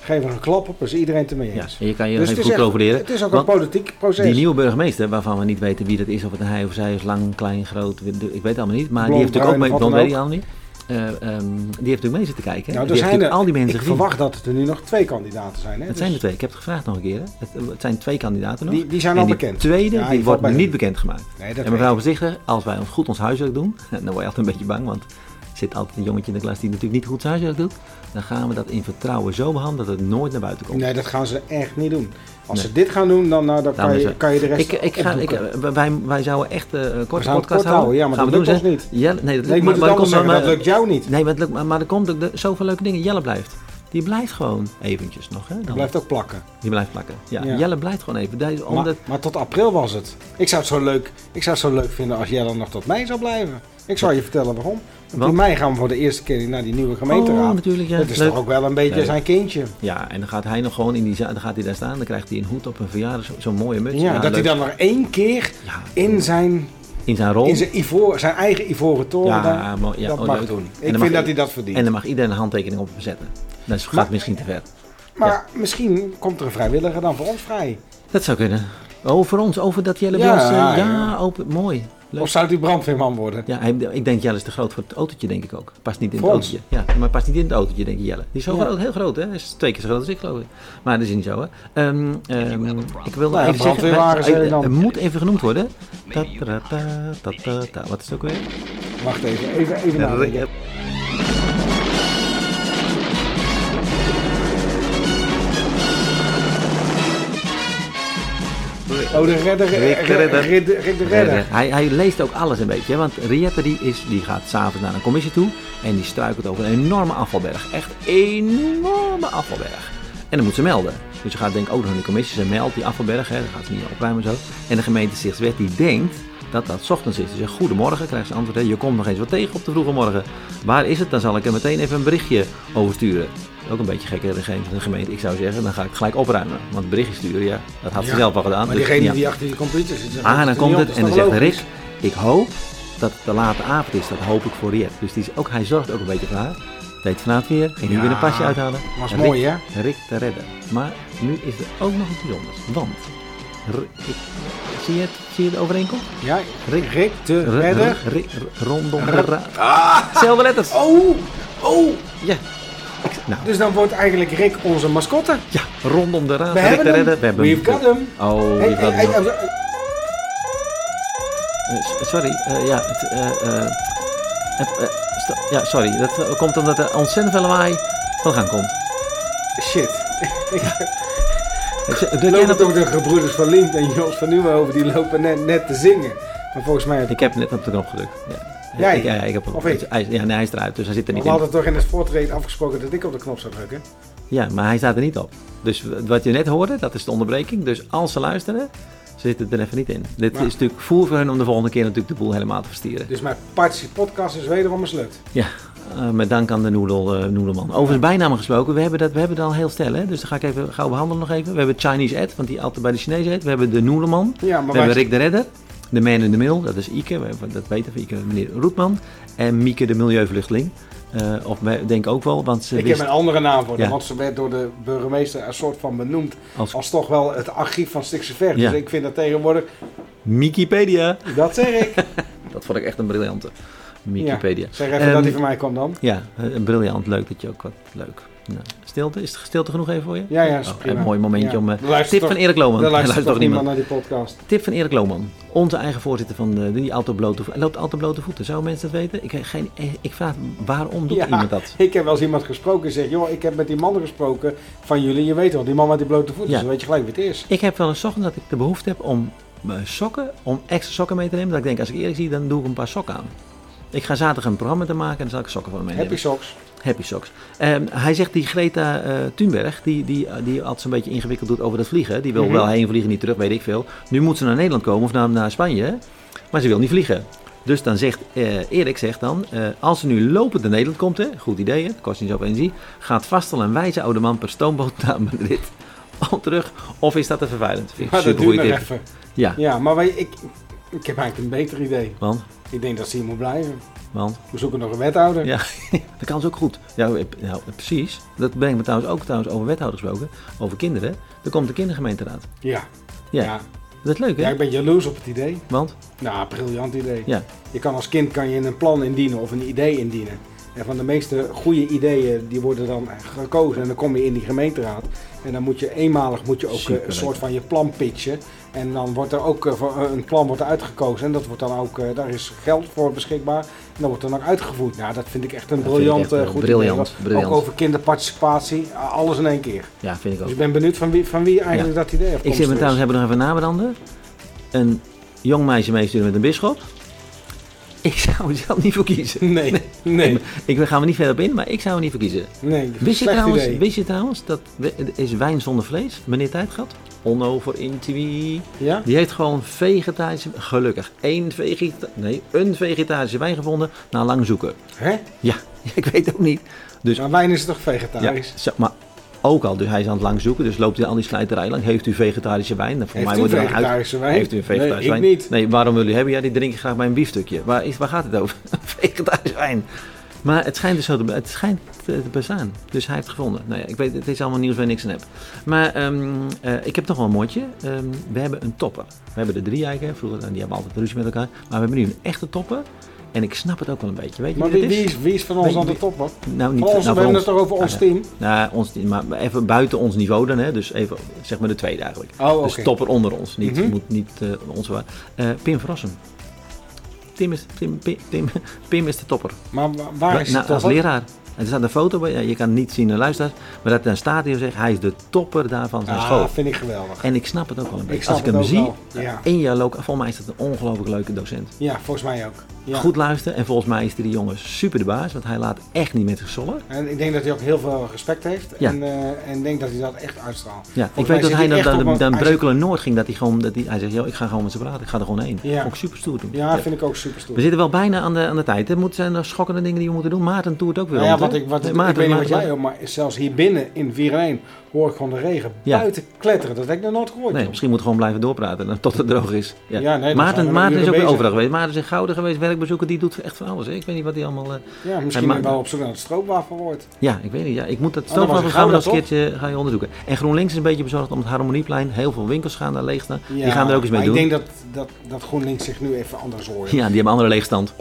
[SPEAKER 3] geven we een klap op, is iedereen het ermee
[SPEAKER 2] Ja,
[SPEAKER 3] eens.
[SPEAKER 2] en je kan je
[SPEAKER 3] Dus
[SPEAKER 2] nog even
[SPEAKER 3] het is,
[SPEAKER 2] goed
[SPEAKER 3] echt-
[SPEAKER 2] profileren.
[SPEAKER 3] het is ook
[SPEAKER 2] want-
[SPEAKER 3] een politiek proces.
[SPEAKER 2] Die nieuwe burgemeester, waarvan we niet weten wie dat is, of het een hij of zij is, lang, klein, groot, ik weet het allemaal niet. Maar
[SPEAKER 3] Blond,
[SPEAKER 2] die heeft natuurlijk ook
[SPEAKER 3] bruin,
[SPEAKER 2] mee,
[SPEAKER 3] wat
[SPEAKER 2] blond
[SPEAKER 3] dan
[SPEAKER 2] weet ik allemaal niet. eh, ehm, die heeft natuurlijk mee zitten kijken. die
[SPEAKER 3] Nou, er
[SPEAKER 2] heeft
[SPEAKER 3] zijn er,
[SPEAKER 2] natuurlijk al die mensen
[SPEAKER 3] ik
[SPEAKER 2] gezien.
[SPEAKER 3] verwacht dat er nu nog twee kandidaten zijn. Hè?
[SPEAKER 2] Het
[SPEAKER 3] Dus
[SPEAKER 2] zijn er twee. Ik heb het gevraagd nog een keer. hè. Het, het zijn twee kandidaten nog.
[SPEAKER 3] Die, die zijn
[SPEAKER 2] en
[SPEAKER 3] al
[SPEAKER 2] die
[SPEAKER 3] bekend.
[SPEAKER 2] tweede
[SPEAKER 3] Ja,
[SPEAKER 2] die
[SPEAKER 3] ik
[SPEAKER 2] wordt
[SPEAKER 3] val bij
[SPEAKER 2] niet
[SPEAKER 3] de-
[SPEAKER 2] bekend gemaakt.
[SPEAKER 3] Nee, dat
[SPEAKER 2] en
[SPEAKER 3] weet
[SPEAKER 2] mevrouw
[SPEAKER 3] ik.
[SPEAKER 2] Voorzichtig, als wij ons goed ons huiswerk doen, dan word je altijd een beetje bang, want er zit altijd een jongetje in de klas die natuurlijk niet goed zijn huiswerk doet. Dan gaan we dat in vertrouwen zo behandelen dat het nooit naar buiten komt.
[SPEAKER 3] Nee, dat gaan ze echt niet doen. Als
[SPEAKER 2] Nee.
[SPEAKER 3] ze dit gaan doen, dan, nou, dan
[SPEAKER 2] Daarom
[SPEAKER 3] kan,
[SPEAKER 2] is
[SPEAKER 3] je,
[SPEAKER 2] het-
[SPEAKER 3] kan je de rest
[SPEAKER 2] Ik, ik ga, ik,
[SPEAKER 3] opdoeken.
[SPEAKER 2] wij, wij zouden echt eh, een korte
[SPEAKER 3] zouden het
[SPEAKER 2] podcast
[SPEAKER 3] kort houden, ja, maar
[SPEAKER 2] Gaan
[SPEAKER 3] dat
[SPEAKER 2] we doen,
[SPEAKER 3] lukt ons
[SPEAKER 2] zeg. Jelle, nee, dat
[SPEAKER 3] Nee,
[SPEAKER 2] lukt,
[SPEAKER 3] ik
[SPEAKER 2] maar,
[SPEAKER 3] moet het
[SPEAKER 2] maar er komt
[SPEAKER 3] anders
[SPEAKER 2] wel-
[SPEAKER 3] zeggen, dat
[SPEAKER 2] maar-
[SPEAKER 3] lukt jou niet.
[SPEAKER 2] Nee, maar, het lukt, maar, maar er komt ook de- zoveel leuke dingen. Jelle blijft. Die blijft gewoon eventjes nog. Hè, dan.
[SPEAKER 3] Dat blijft ook plakken.
[SPEAKER 2] Die blijft plakken. Ja,
[SPEAKER 3] Ja.
[SPEAKER 2] Jelle blijft gewoon even. Daar is-
[SPEAKER 3] Maar,
[SPEAKER 2] Omdat,
[SPEAKER 3] maar tot april was het. Ik zou het, zo leuk, ik zou het zo leuk vinden als jij dan nog tot mei zou blijven. Ik zal je vertellen waarom. Want
[SPEAKER 2] Want?
[SPEAKER 3] in mei gaan we voor de eerste keer naar die nieuwe
[SPEAKER 2] oh,
[SPEAKER 3] gemeenteraad.
[SPEAKER 2] natuurlijk, ja.
[SPEAKER 3] dat is
[SPEAKER 2] leuk.
[SPEAKER 3] toch ook wel een beetje
[SPEAKER 2] Nee.
[SPEAKER 3] zijn kindje.
[SPEAKER 2] Ja, en dan gaat hij nog gewoon in die za- Dan gaat hij daar staan. Dan krijgt hij een hoed op een verjaardag. zo- Zo'n mooie muts.
[SPEAKER 3] Ja, dat hij
[SPEAKER 2] leuk.
[SPEAKER 3] dan nog één keer
[SPEAKER 2] Ja,
[SPEAKER 3] in zijn,
[SPEAKER 2] in zijn rol.
[SPEAKER 3] in zijn, ivoor, zijn eigen ivoren toren
[SPEAKER 2] ja,
[SPEAKER 3] dan,
[SPEAKER 2] mooi, ja,
[SPEAKER 3] dat
[SPEAKER 2] oh,
[SPEAKER 3] mag
[SPEAKER 2] leuk.
[SPEAKER 3] doen.
[SPEAKER 2] En dan
[SPEAKER 3] Ik
[SPEAKER 2] mag-
[SPEAKER 3] vind dat hij dat verdient.
[SPEAKER 2] En dan mag iedereen een handtekening op zetten. Dat is- gaat
[SPEAKER 3] Maar-
[SPEAKER 2] misschien te ver.
[SPEAKER 3] maar misschien komt er een vrijwilliger dan voor ons vrij.
[SPEAKER 2] Dat zou kunnen. Over ons, over dat Jelle
[SPEAKER 3] Ja,
[SPEAKER 2] Wils, eh, ja,
[SPEAKER 3] ja.
[SPEAKER 2] open, mooi. Leuk.
[SPEAKER 3] Of zou hij brandweerman worden?
[SPEAKER 2] Ja, hij- ik denk Jelle is te groot voor het autootje, denk ik ook. Past niet in
[SPEAKER 3] Voor
[SPEAKER 2] het
[SPEAKER 3] ons?
[SPEAKER 2] autootje. Ja, maar past niet in het autootje, denk ik Jelle. Die is zo
[SPEAKER 3] Ja.
[SPEAKER 2] groot, heel groot, hè? Hij is twee keer zo groot als ik, geloof ik. Maar dat is niet zo, hè? Ehm, ehm, ik wil
[SPEAKER 3] Nou ja,
[SPEAKER 2] even zeggen,
[SPEAKER 3] brandweerwagens
[SPEAKER 2] wij-
[SPEAKER 3] zijn er dan.
[SPEAKER 2] het moet even genoemd worden. Ta -ta -ta -ta -ta -ta. Wat is het ook weer?
[SPEAKER 3] Wacht even, even, even nadenken. Oh, de redder,
[SPEAKER 2] Rick de
[SPEAKER 3] eh,
[SPEAKER 2] Redder.
[SPEAKER 3] Rid- Rick de redder.
[SPEAKER 2] Hij, hij leest ook alles een beetje, hè, want Riette die is, die gaat s'avonds naar een commissie toe en die struikelt over een enorme afvalberg. Echt enorme afvalberg. En dan moet ze melden. Dus ze gaat denk ik ook nog naar de commissie, ze meldt die afvalberg, hè, dan gaat ze niet opruimen en zo. En de gemeente Zichtswet die denkt dat dat 's ochtends is. Dus Ze zegt goedemorgen, krijgt ze antwoord, hè, je komt nog eens wat tegen op de vroege morgen. Waar is het? Dan zal ik er meteen even een berichtje over sturen. Ook een beetje gekke regering van de gemeente, ik zou zeggen, dan ga ik gelijk opruimen. Want berichtje sturen, ja, dat had ze
[SPEAKER 3] Ja,
[SPEAKER 2] zelf al gedaan.
[SPEAKER 3] Maar
[SPEAKER 2] dus
[SPEAKER 3] diegene
[SPEAKER 2] ja.
[SPEAKER 3] die achter die computer zit... zegt,
[SPEAKER 2] Ah,
[SPEAKER 3] dat
[SPEAKER 2] dan
[SPEAKER 3] is
[SPEAKER 2] komt
[SPEAKER 3] niet
[SPEAKER 2] het
[SPEAKER 3] op,
[SPEAKER 2] en dan
[SPEAKER 3] dat
[SPEAKER 2] zegt
[SPEAKER 3] is
[SPEAKER 2] Rick, ik hoop dat het de late avond is. Dat hoop ik voor Riet. Dus die is ook, hij zorgt ook een beetje voor haar. Deed vanavond weer, ging nu
[SPEAKER 3] Ja,
[SPEAKER 2] weer een pasje uithalen.
[SPEAKER 3] was
[SPEAKER 2] En
[SPEAKER 3] mooi,
[SPEAKER 2] Rick, Rick te redden. Maar nu is er ook nog iets bijzonders. Want, R- ik, zie, je het, zie je de overeenkomst?
[SPEAKER 3] toch logisch? Ja,
[SPEAKER 2] Rick-
[SPEAKER 3] Rick, de
[SPEAKER 2] R-
[SPEAKER 3] redder.
[SPEAKER 2] R- Rick- R- rondom de ra- Zelfde letters.
[SPEAKER 3] Oh, oh.
[SPEAKER 2] Ja. Ik- nou,
[SPEAKER 3] Dus dan wordt eigenlijk Rick onze mascotte.
[SPEAKER 2] ja, rondom de raad.
[SPEAKER 3] We
[SPEAKER 2] Rick
[SPEAKER 3] hebben
[SPEAKER 2] te
[SPEAKER 3] hem.
[SPEAKER 2] redden. We hebben
[SPEAKER 3] We've got him.
[SPEAKER 2] Oh,
[SPEAKER 3] Hey,
[SPEAKER 2] we've got
[SPEAKER 3] hey,
[SPEAKER 2] him.
[SPEAKER 3] hey, eh,
[SPEAKER 2] Eh, s- sorry, eh, ja, het, eh, eh, het, eh, sta- ja, sorry. Dat eh, komt omdat er ontzettend veel lawaai van gang komt.
[SPEAKER 3] oh, Shit.
[SPEAKER 2] Eh, z- doe jij
[SPEAKER 3] Lopen
[SPEAKER 2] dat
[SPEAKER 3] toch
[SPEAKER 2] ook?
[SPEAKER 3] de gebroeders van Lint en Jos van Nieuwenhoven, die lopen net, net te zingen. Maar volgens mij...
[SPEAKER 2] Ik heb net op de knop gedrukt. Ja.
[SPEAKER 3] Jij?
[SPEAKER 2] Ik, ja, ik heb hem-
[SPEAKER 3] Of ik?
[SPEAKER 2] Hij, ja, nee, hij is eruit, dus hij zit er
[SPEAKER 3] Maar
[SPEAKER 2] niet
[SPEAKER 3] we
[SPEAKER 2] in.
[SPEAKER 3] hadden toch in het voortreden afgesproken dat ik op de knop zou drukken?
[SPEAKER 2] Ja, maar hij staat er niet op. Dus w- wat je net hoorde, dat is de onderbreking. Dus als ze luisteren, ze zitten er even niet in. Dit
[SPEAKER 3] Maar-
[SPEAKER 2] is natuurlijk voer voor hun om de volgende keer natuurlijk de boel helemaal te verstieren.
[SPEAKER 3] Dus mijn Party podcast is wederom mislukt.
[SPEAKER 2] Ja, eh, met dank aan de noedel, eh, noedelman. Overigens, bijnamen gesproken, we hebben dat, we hebben dat al heel stel, hè? dus dat ga ik even gauw behandelen nog even. We hebben Chinese Ed, want die altijd bij de Chinezen eet. We hebben de noedelman.
[SPEAKER 3] Ja,
[SPEAKER 2] We
[SPEAKER 3] maar
[SPEAKER 2] hebben
[SPEAKER 3] wij-
[SPEAKER 2] Rick de Redder. De man in the middle, dat is Ike, we hebben- dat weten we, Ike, meneer Roetman. En Mieke de milieuvluchteling. Eh, of wij denk ook wel, want ze
[SPEAKER 3] Ik
[SPEAKER 2] wist
[SPEAKER 3] heb een andere naam voor haar,
[SPEAKER 2] Ja.
[SPEAKER 3] want ze werd door de burgemeester een soort van benoemd
[SPEAKER 2] als
[SPEAKER 3] als toch wel het archief van Stikse Ver.
[SPEAKER 2] Ja.
[SPEAKER 3] Dus ik vind dat tegenwoordig,
[SPEAKER 2] Wikipedia.
[SPEAKER 3] dat zeg ik.
[SPEAKER 2] Dat vond ik echt een briljante. Wikipedia.
[SPEAKER 3] Ja. Zeg even
[SPEAKER 2] Ehm,
[SPEAKER 3] dat die van mij kwam dan.
[SPEAKER 2] Ja, een briljant. Leuk dat je ook wat leuk. Nou, stilte, is het stilte genoeg even voor je?
[SPEAKER 3] Ja, ja, is
[SPEAKER 2] Oh,
[SPEAKER 3] prima.
[SPEAKER 2] een mooi momentje
[SPEAKER 3] Ja.
[SPEAKER 2] om. eh,
[SPEAKER 3] Er luistert
[SPEAKER 2] tip
[SPEAKER 3] toch-
[SPEAKER 2] van Erik Lohman.
[SPEAKER 3] Er
[SPEAKER 2] Hij
[SPEAKER 3] luistert toch niemand
[SPEAKER 2] niemand.
[SPEAKER 3] naar die podcast.
[SPEAKER 2] Tip van Erik Lohman. Onze eigen voorzitter van eh, die altijd blote voeten. Hij loopt altijd blote voeten. Zouden mensen dat weten? Ik, heb geen, eh, ik vraag waarom doet
[SPEAKER 3] Ja.
[SPEAKER 2] iemand dat?
[SPEAKER 3] Ik heb wel eens iemand gesproken en zegt, joh, ik heb met die man gesproken van jullie. Je weet wel, die man met die blote voeten,
[SPEAKER 2] Ja.
[SPEAKER 3] dus dan weet je gelijk wie het is.
[SPEAKER 2] Ik heb wel eens ochtend dat ik de behoefte heb om mijn sokken, om extra sokken mee te nemen. Dat ik denk, als ik Erik zie, dan doe ik een paar sokken aan. Ik ga zaterdag een programma te maken en dan zal ik sokken van hem meenemen.
[SPEAKER 3] Happy socks.
[SPEAKER 2] Happy Socks. Ehm, hij zegt die Greta eh, Thunberg, die, die, eh, die altijd zo'n beetje ingewikkeld doet over dat vliegen. Die wil
[SPEAKER 3] Mhm.
[SPEAKER 2] wel heen vliegen, niet terug, weet ik veel. Nu moet ze naar Nederland komen of naar, naar Spanje, hè? maar ze wil niet vliegen. Dus dan zegt eh, Erik, zegt dan, eh, als ze nu lopend naar Nederland komt, hè, goed idee, hè, kost niet zoveel energie, gaat vast al een wijze oude man per stoomboot naar Madrid om terug. Of is dat te vervuilend? Vind ik
[SPEAKER 3] Maar
[SPEAKER 2] een
[SPEAKER 3] dat duurt
[SPEAKER 2] supergoeie
[SPEAKER 3] nog
[SPEAKER 2] tip.
[SPEAKER 3] even.
[SPEAKER 2] Ja,
[SPEAKER 3] Ja, maar wij- ik, ik heb eigenlijk een beter idee.
[SPEAKER 2] want,
[SPEAKER 3] Ik denk dat ze hier moet blijven.
[SPEAKER 2] want,
[SPEAKER 3] We zoeken nog een wethouder.
[SPEAKER 2] Ja, dat kan ze ook goed. Ja, eh, nou, eh, precies. Dat brengt me trouwens ook trouwens over wethouders gesproken, over kinderen. Er komt de kindergemeenteraad.
[SPEAKER 3] Ja.
[SPEAKER 2] Ja.
[SPEAKER 3] ja.
[SPEAKER 2] Dat is leuk, hè?
[SPEAKER 3] Ja, ik ben jaloers op het idee.
[SPEAKER 2] Want,
[SPEAKER 3] Nou, briljant idee.
[SPEAKER 2] ja,
[SPEAKER 3] Je kan als kind kan je een plan indienen of een idee indienen. En van de meeste goede ideeën die worden dan gekozen en dan kom je in die gemeenteraad. En dan moet je eenmalig moet je ook eh,
[SPEAKER 2] Superleuk.
[SPEAKER 3] een soort van je plan pitchen. En dan wordt er ook eh, voor- eh, een plan wordt uitgekozen en dat wordt dan ook, eh, daar is geld voor beschikbaar. En dat wordt dan ook uitgevoerd. Nou, dat vind ik echt een
[SPEAKER 2] Dat vind ik
[SPEAKER 3] briljant
[SPEAKER 2] echt,
[SPEAKER 3] eh,
[SPEAKER 2] eh,
[SPEAKER 3] goed
[SPEAKER 2] briljant,
[SPEAKER 3] idee.
[SPEAKER 2] briljant.
[SPEAKER 3] Ook over kinderparticipatie, eh, alles in één keer.
[SPEAKER 2] Ja, vind ik ook.
[SPEAKER 3] Dus ik ben benieuwd van wie, van wie eigenlijk dat idee heeft.
[SPEAKER 2] Ik zit me trouwens hebben nog even nabranden. Een jong meisje meesturen met een bisschop. Ik zou er zelf niet voor kiezen.
[SPEAKER 3] Nee, nee,
[SPEAKER 2] Ik ga er niet verder op in, maar ik zou er niet voor kiezen.
[SPEAKER 3] nee.
[SPEAKER 2] Wist je,
[SPEAKER 3] slecht
[SPEAKER 2] trouwens,
[SPEAKER 3] idee.
[SPEAKER 2] wist je trouwens dat er is wijn zonder vlees? Meneer Tijdgat, Onno voor Intiwi.
[SPEAKER 3] Ja?
[SPEAKER 2] Die heeft gewoon vegetarische, gelukkig, één vegeta nee, een vegetarische wijn gevonden na lang zoeken.
[SPEAKER 3] Hè?
[SPEAKER 2] Ja, ik weet ook niet. Dus,
[SPEAKER 3] Maar wijn is toch
[SPEAKER 2] ja,
[SPEAKER 3] vegetarisch?
[SPEAKER 2] zo- maar ook al, dus hij is aan het lang zoeken, dus loopt hij aan die slijterij lang. Heeft u vegetarische wijn? Nou, voor
[SPEAKER 3] Heeft
[SPEAKER 2] mij
[SPEAKER 3] u
[SPEAKER 2] wordt er dan uit,
[SPEAKER 3] vegetarische wijn?
[SPEAKER 2] Heeft u een vegetarische
[SPEAKER 3] nee,
[SPEAKER 2] wijn?
[SPEAKER 3] ik niet.
[SPEAKER 2] Nee, waarom wil u hebben? Ja, die drink ik graag bij een biefstukje. Waar, is, waar gaat het over? Vegetarisch wijn. Maar het schijnt dus zo te, het schijnt te, te bestaan. Dus hij heeft het gevonden. Nou ja, ik weet, het is allemaal nieuws waar ik niks aan heb. Maar ehm, eh, ik heb nog wel een mondje. Ehm, we hebben een topper. We hebben de drie eiken. Vroeger, nou, die hebben altijd ruzie met elkaar. Maar we hebben nu een echte topper. En ik snap het ook wel een beetje. Weet je
[SPEAKER 3] Maar
[SPEAKER 2] wie
[SPEAKER 3] wie,
[SPEAKER 2] het
[SPEAKER 3] wie,
[SPEAKER 2] is?
[SPEAKER 3] is, wie is van ons
[SPEAKER 2] Wie-
[SPEAKER 3] aan de
[SPEAKER 2] wie-
[SPEAKER 3] top, man?
[SPEAKER 2] Nou,
[SPEAKER 3] Van
[SPEAKER 2] niet
[SPEAKER 3] ons, we
[SPEAKER 2] nou,
[SPEAKER 3] hebben
[SPEAKER 2] ons.
[SPEAKER 3] het toch over ons
[SPEAKER 2] Ah,
[SPEAKER 3] team?
[SPEAKER 2] Nou, ons niet, maar even buiten ons niveau dan, hè? dus even zeg maar de tweede eigenlijk.
[SPEAKER 3] Oh, oké.
[SPEAKER 2] Dus topper onder ons, niet,
[SPEAKER 3] Mhm.
[SPEAKER 2] moet niet eh, onze waar. Eh, Pim Verrassen. Tim is, Tim, Pim, Tim, Pim is de topper.
[SPEAKER 3] Maar wa- waar is
[SPEAKER 2] Nou,
[SPEAKER 3] het
[SPEAKER 2] als leraar. En er staat een foto bij, ja, je kan het niet zien en luisteren, maar dat dan staat hier zegt hij is de topper daarvan zijn school.
[SPEAKER 3] Ah, vind ik geweldig.
[SPEAKER 2] En ik snap het ook wel een beetje.
[SPEAKER 3] snap
[SPEAKER 2] Als ik
[SPEAKER 3] het
[SPEAKER 2] hem
[SPEAKER 3] ook
[SPEAKER 2] zie,
[SPEAKER 3] wel, ja.
[SPEAKER 2] één jaar loka, volgens mij is dat een ongelooflijk leuke docent.
[SPEAKER 3] Ja, volgens mij ook. Ja.
[SPEAKER 2] Goed luisteren en volgens mij is die jongen super de baas, want hij laat echt niet met zich zollen.
[SPEAKER 3] En ik denk dat hij ook heel veel respect heeft.
[SPEAKER 2] Ja.
[SPEAKER 3] En, eh en ik denk dat hij dat echt uitstraalt.
[SPEAKER 2] Ja,
[SPEAKER 3] Volgens
[SPEAKER 2] ik
[SPEAKER 3] mij
[SPEAKER 2] weet dat
[SPEAKER 3] zit
[SPEAKER 2] hij dan,
[SPEAKER 3] echt op
[SPEAKER 2] dan,
[SPEAKER 3] een-
[SPEAKER 2] dan
[SPEAKER 3] hij
[SPEAKER 2] Breukelen Noord ging. Dat hij, gewoon, dat hij, hij zegt, "Yo, ik ga gewoon met ze praten. Ik ga er gewoon heen.
[SPEAKER 3] Ja.
[SPEAKER 2] Vond ik super stoer toen.
[SPEAKER 3] zit- Ja, vind ik ook super stoer.
[SPEAKER 2] We zitten wel bijna aan de, aan de tijd. Er moeten- zijn nog schokkende dingen die we moeten doen. Maarten toert ook weer
[SPEAKER 3] Nou ja,
[SPEAKER 2] rond, hè?
[SPEAKER 3] wat ik, wat,
[SPEAKER 2] Nee,
[SPEAKER 3] ik weet niet wat
[SPEAKER 2] Maarten-
[SPEAKER 3] jij hoort, maar zelfs hier binnen in 4 1 hoor ik gewoon de regen
[SPEAKER 2] Ja.
[SPEAKER 3] buiten kletteren. Dat heb ik nog nooit gehoord.
[SPEAKER 2] Nee,
[SPEAKER 3] joh.
[SPEAKER 2] misschien moeten we gewoon blijven doorpraten dan, tot het droog is. Ja.
[SPEAKER 3] Ja, nee, dan zijn
[SPEAKER 2] Maarten,
[SPEAKER 3] we
[SPEAKER 2] Maarten
[SPEAKER 3] nog
[SPEAKER 2] is ook weer
[SPEAKER 3] uren
[SPEAKER 2] overal geweest. Maarten is in Gouden geweest, werkbezoeken. Die doet echt van alles. Hè? Ik weet niet wat hij allemaal... eh,
[SPEAKER 3] ja,
[SPEAKER 2] Hij maakt-
[SPEAKER 3] misschien ben ik wel op zoek naar het stroopwafel wordt.
[SPEAKER 2] Ja, ik weet niet. Ja, ik moet dat
[SPEAKER 3] Oh, dan was
[SPEAKER 2] stoofwapen
[SPEAKER 3] het
[SPEAKER 2] gaan we nog eens
[SPEAKER 3] Gouda,
[SPEAKER 2] een keertje gaan je onderzoeken. En GroenLinks is een beetje bezorgd om het Harmonieplein. Heel veel winkels gaan daar leeg staan. die gaan er ook eens mee
[SPEAKER 3] maar
[SPEAKER 2] doen.
[SPEAKER 3] Ik denk dat, dat, dat GroenLinks zich nu even anders hoort.
[SPEAKER 2] Ja, die hebben andere leegstand.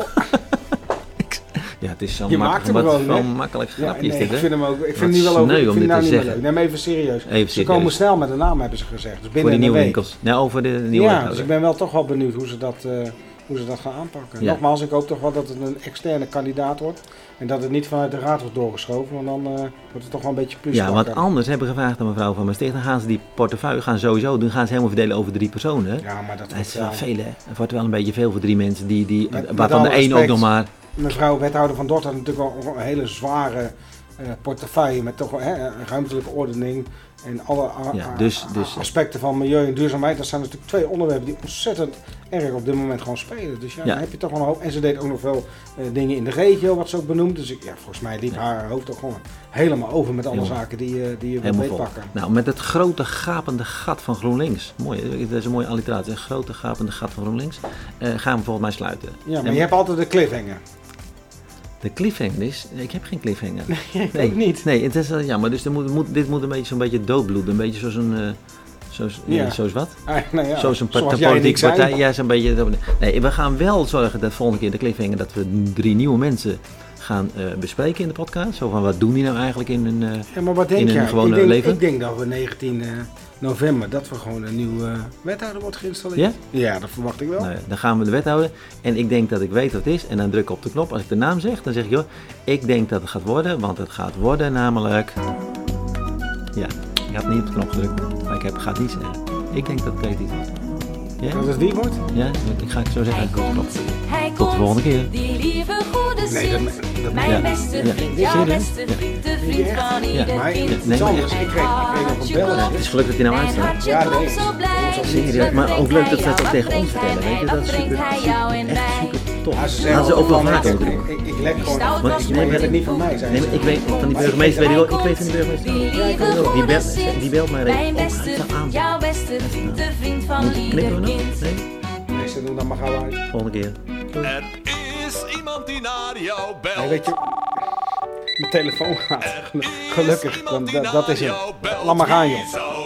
[SPEAKER 2] Ik- ja, het is zo
[SPEAKER 3] Je
[SPEAKER 2] makkelijk.
[SPEAKER 3] maakt hem
[SPEAKER 2] wat
[SPEAKER 3] gewoon, hè?
[SPEAKER 2] zo'n makkelijk
[SPEAKER 3] Ja,
[SPEAKER 2] grapje
[SPEAKER 3] nee,
[SPEAKER 2] is dit,
[SPEAKER 3] ik
[SPEAKER 2] hè?
[SPEAKER 3] vind hem ook. Ik vind
[SPEAKER 2] Wat
[SPEAKER 3] hem niet wel
[SPEAKER 2] sneu
[SPEAKER 3] over. Ik
[SPEAKER 2] om
[SPEAKER 3] vind hem
[SPEAKER 2] dit te
[SPEAKER 3] nou niet meer leuk.
[SPEAKER 2] zeggen.
[SPEAKER 3] Nee, maar even serieus.
[SPEAKER 2] Even
[SPEAKER 3] Ze
[SPEAKER 2] serieus.
[SPEAKER 3] komen snel met de naam, hebben ze gezegd. Dus binnen
[SPEAKER 2] Voor de
[SPEAKER 3] een
[SPEAKER 2] nieuwe
[SPEAKER 3] week.
[SPEAKER 2] winkels. Ja, over de nieuwe
[SPEAKER 3] Ja,
[SPEAKER 2] winkels.
[SPEAKER 3] dus ik ben wel toch wel benieuwd hoe ze dat, eh, hoe ze dat gaan aanpakken.
[SPEAKER 2] Ja.
[SPEAKER 3] Nogmaals, ik hoop toch wel dat het een externe kandidaat wordt. En dat het niet vanuit de raad wordt doorgeschoven. Want dan eh, wordt het toch wel een beetje plus.
[SPEAKER 2] Ja, want anders hebben we gevraagd aan mevrouw van Maastricht. Dan gaan ze die portefeuille gaan sowieso doen. Gaan ze helemaal verdelen over drie personen. hè?
[SPEAKER 3] Ja, maar dat
[SPEAKER 2] Dat is
[SPEAKER 3] wordt,
[SPEAKER 2] wel
[SPEAKER 3] eh,
[SPEAKER 2] veel, hè? Het wordt wel een beetje veel voor drie mensen. Die, die,
[SPEAKER 3] Met- met
[SPEAKER 2] waarvan
[SPEAKER 3] alle
[SPEAKER 2] de één ook
[SPEAKER 3] respect.
[SPEAKER 2] nog maar...
[SPEAKER 3] Mevrouw wethouder van Dort had natuurlijk wel een hele zware eh, portefeuille met toch wel, hè, een ruimtelijke ordening en alle a-
[SPEAKER 2] Ja,
[SPEAKER 3] a-
[SPEAKER 2] dus-
[SPEAKER 3] a-
[SPEAKER 2] dus-
[SPEAKER 3] aspecten van milieu en duurzaamheid. Dat zijn natuurlijk twee onderwerpen die ontzettend erg op dit moment gewoon spelen. Dus ja,
[SPEAKER 2] Ja.
[SPEAKER 3] dan heb je toch wel een hoop. En ze deed ook nog wel eh, dingen in de regio, wat ze ook benoemd. Dus ik, ja, volgens mij liep haar hoofd toch gewoon helemaal over met alle
[SPEAKER 2] Helemaal.
[SPEAKER 3] zaken die, eh, die je wilt
[SPEAKER 2] Helemaal vol.
[SPEAKER 3] meepakken.
[SPEAKER 2] Nou, met het grote gapende gat van GroenLinks. Mooi, hè? dat is een mooie alliteratie. Het grote gapende gat van GroenLinks. Eh, gaan we volgens mij sluiten.
[SPEAKER 3] Ja, maar
[SPEAKER 2] En
[SPEAKER 3] je hebt altijd de cliffhanger.
[SPEAKER 2] De cliffhanger is... Ik heb geen cliffhanger.
[SPEAKER 3] Nee,
[SPEAKER 2] Nee.
[SPEAKER 3] ook niet.
[SPEAKER 2] Nee, het is wel jammer. Dus er moet, moet, dit moet een beetje zo'n beetje doodbloeden. Een beetje zoals een... eh, zoals,
[SPEAKER 3] Ja.
[SPEAKER 2] eh, zoals wat?
[SPEAKER 3] Ah, nou ja,
[SPEAKER 2] zoals een part-
[SPEAKER 3] zoals jij en ik
[SPEAKER 2] politieke
[SPEAKER 3] zijn.
[SPEAKER 2] partij. Ja, zo'n beetje... Nee, we gaan wel zorgen dat volgende keer in de cliffhanger... dat we drie nieuwe mensen gaan eh, bespreken in de podcast. Zo van, wat doen die nou eigenlijk in hun... eh,
[SPEAKER 3] Ja, maar wat denk
[SPEAKER 2] in een
[SPEAKER 3] jij?
[SPEAKER 2] gewone
[SPEAKER 3] ik, denk,
[SPEAKER 2] leven?
[SPEAKER 3] ik denk dat we 19 eh, november dat we gewoon een nieuwe eh, wethouder wordt geïnstalleerd. Ja? dat verwacht ik wel.
[SPEAKER 2] Nou ja, dan gaan we de wethouder. En ik denk dat ik weet wat het is. En dan druk ik op de knop. Als ik de naam zeg, dan zeg ik, joh, ik denk dat het gaat worden. Want het gaat worden namelijk... Ja, ik had niet op de knop gedrukt. Maar ik heb, ga het niet zeggen. Ik denk dat het iets wordt. Ja?
[SPEAKER 3] Dat het wie wordt?
[SPEAKER 2] Ja, ik ga het zo zeggen.
[SPEAKER 4] Hij
[SPEAKER 2] Op de knop.
[SPEAKER 4] komt, hij
[SPEAKER 2] Tot
[SPEAKER 4] komt.
[SPEAKER 2] de volgende keer.
[SPEAKER 4] Die lieve goede
[SPEAKER 3] Nee, dat-
[SPEAKER 4] Sint.
[SPEAKER 3] dat-
[SPEAKER 4] Mijn
[SPEAKER 2] ja.
[SPEAKER 4] beste
[SPEAKER 2] Ja.
[SPEAKER 4] vriend,
[SPEAKER 2] Zie je
[SPEAKER 4] jouw
[SPEAKER 2] dat?
[SPEAKER 4] beste
[SPEAKER 2] Ja.
[SPEAKER 4] vriend, de vriend
[SPEAKER 3] Ja.
[SPEAKER 4] van
[SPEAKER 2] Ja.
[SPEAKER 4] ieder
[SPEAKER 3] Maar
[SPEAKER 4] kind.
[SPEAKER 3] het
[SPEAKER 2] nee,
[SPEAKER 3] is
[SPEAKER 2] maar
[SPEAKER 3] anders.
[SPEAKER 4] echt.
[SPEAKER 3] Ik kreeg, ik kreeg nog een belletje.
[SPEAKER 2] Het is gelukkig dat hij nou
[SPEAKER 4] Mijn
[SPEAKER 2] aanstaat.
[SPEAKER 4] hartje
[SPEAKER 3] Ja,
[SPEAKER 4] klopt
[SPEAKER 3] nee,
[SPEAKER 4] zo blij.
[SPEAKER 2] Serieus, maar ook leuk dat ze dat ook tegen ons vertellen. Weet je, dat is
[SPEAKER 4] Wat brengt
[SPEAKER 2] super,
[SPEAKER 4] hij jou en
[SPEAKER 2] echt
[SPEAKER 4] mij?
[SPEAKER 2] super tof.
[SPEAKER 3] Ja, ze
[SPEAKER 2] Laten
[SPEAKER 3] zeggen
[SPEAKER 2] ze ook wel
[SPEAKER 3] van,
[SPEAKER 2] vaker
[SPEAKER 3] ik,
[SPEAKER 2] ook doen.
[SPEAKER 3] ik, ik lek gewoon.
[SPEAKER 4] Want
[SPEAKER 2] Want ik
[SPEAKER 3] Maar
[SPEAKER 2] neem
[SPEAKER 3] je hebt het
[SPEAKER 2] het
[SPEAKER 3] niet van mij, zei
[SPEAKER 2] Nee,
[SPEAKER 3] ze.
[SPEAKER 2] maar ik weet van die burgemeester, weet ik wel. Ik weet van die burgemeester.
[SPEAKER 4] Die lieve
[SPEAKER 2] ook. Die
[SPEAKER 4] goede
[SPEAKER 2] belt-
[SPEAKER 4] Sint,
[SPEAKER 2] die belt mij recht.
[SPEAKER 4] Mijn
[SPEAKER 2] Oh, hij
[SPEAKER 4] beste
[SPEAKER 2] is aan.
[SPEAKER 4] vriend, jouw beste vriend, de vriend van
[SPEAKER 2] Knippen
[SPEAKER 4] ieder
[SPEAKER 2] we nog?
[SPEAKER 4] kind.
[SPEAKER 2] Nee?
[SPEAKER 3] Nee, ze doen dan maar gauw uit.
[SPEAKER 2] Volgende keer.
[SPEAKER 1] Er is iemand die naar jou belt.
[SPEAKER 3] Nee, weet je, mijn telefoon gaat. Gelukkig, dan, dat, dat is het. Laat maar gaan, joh.
[SPEAKER 1] joh.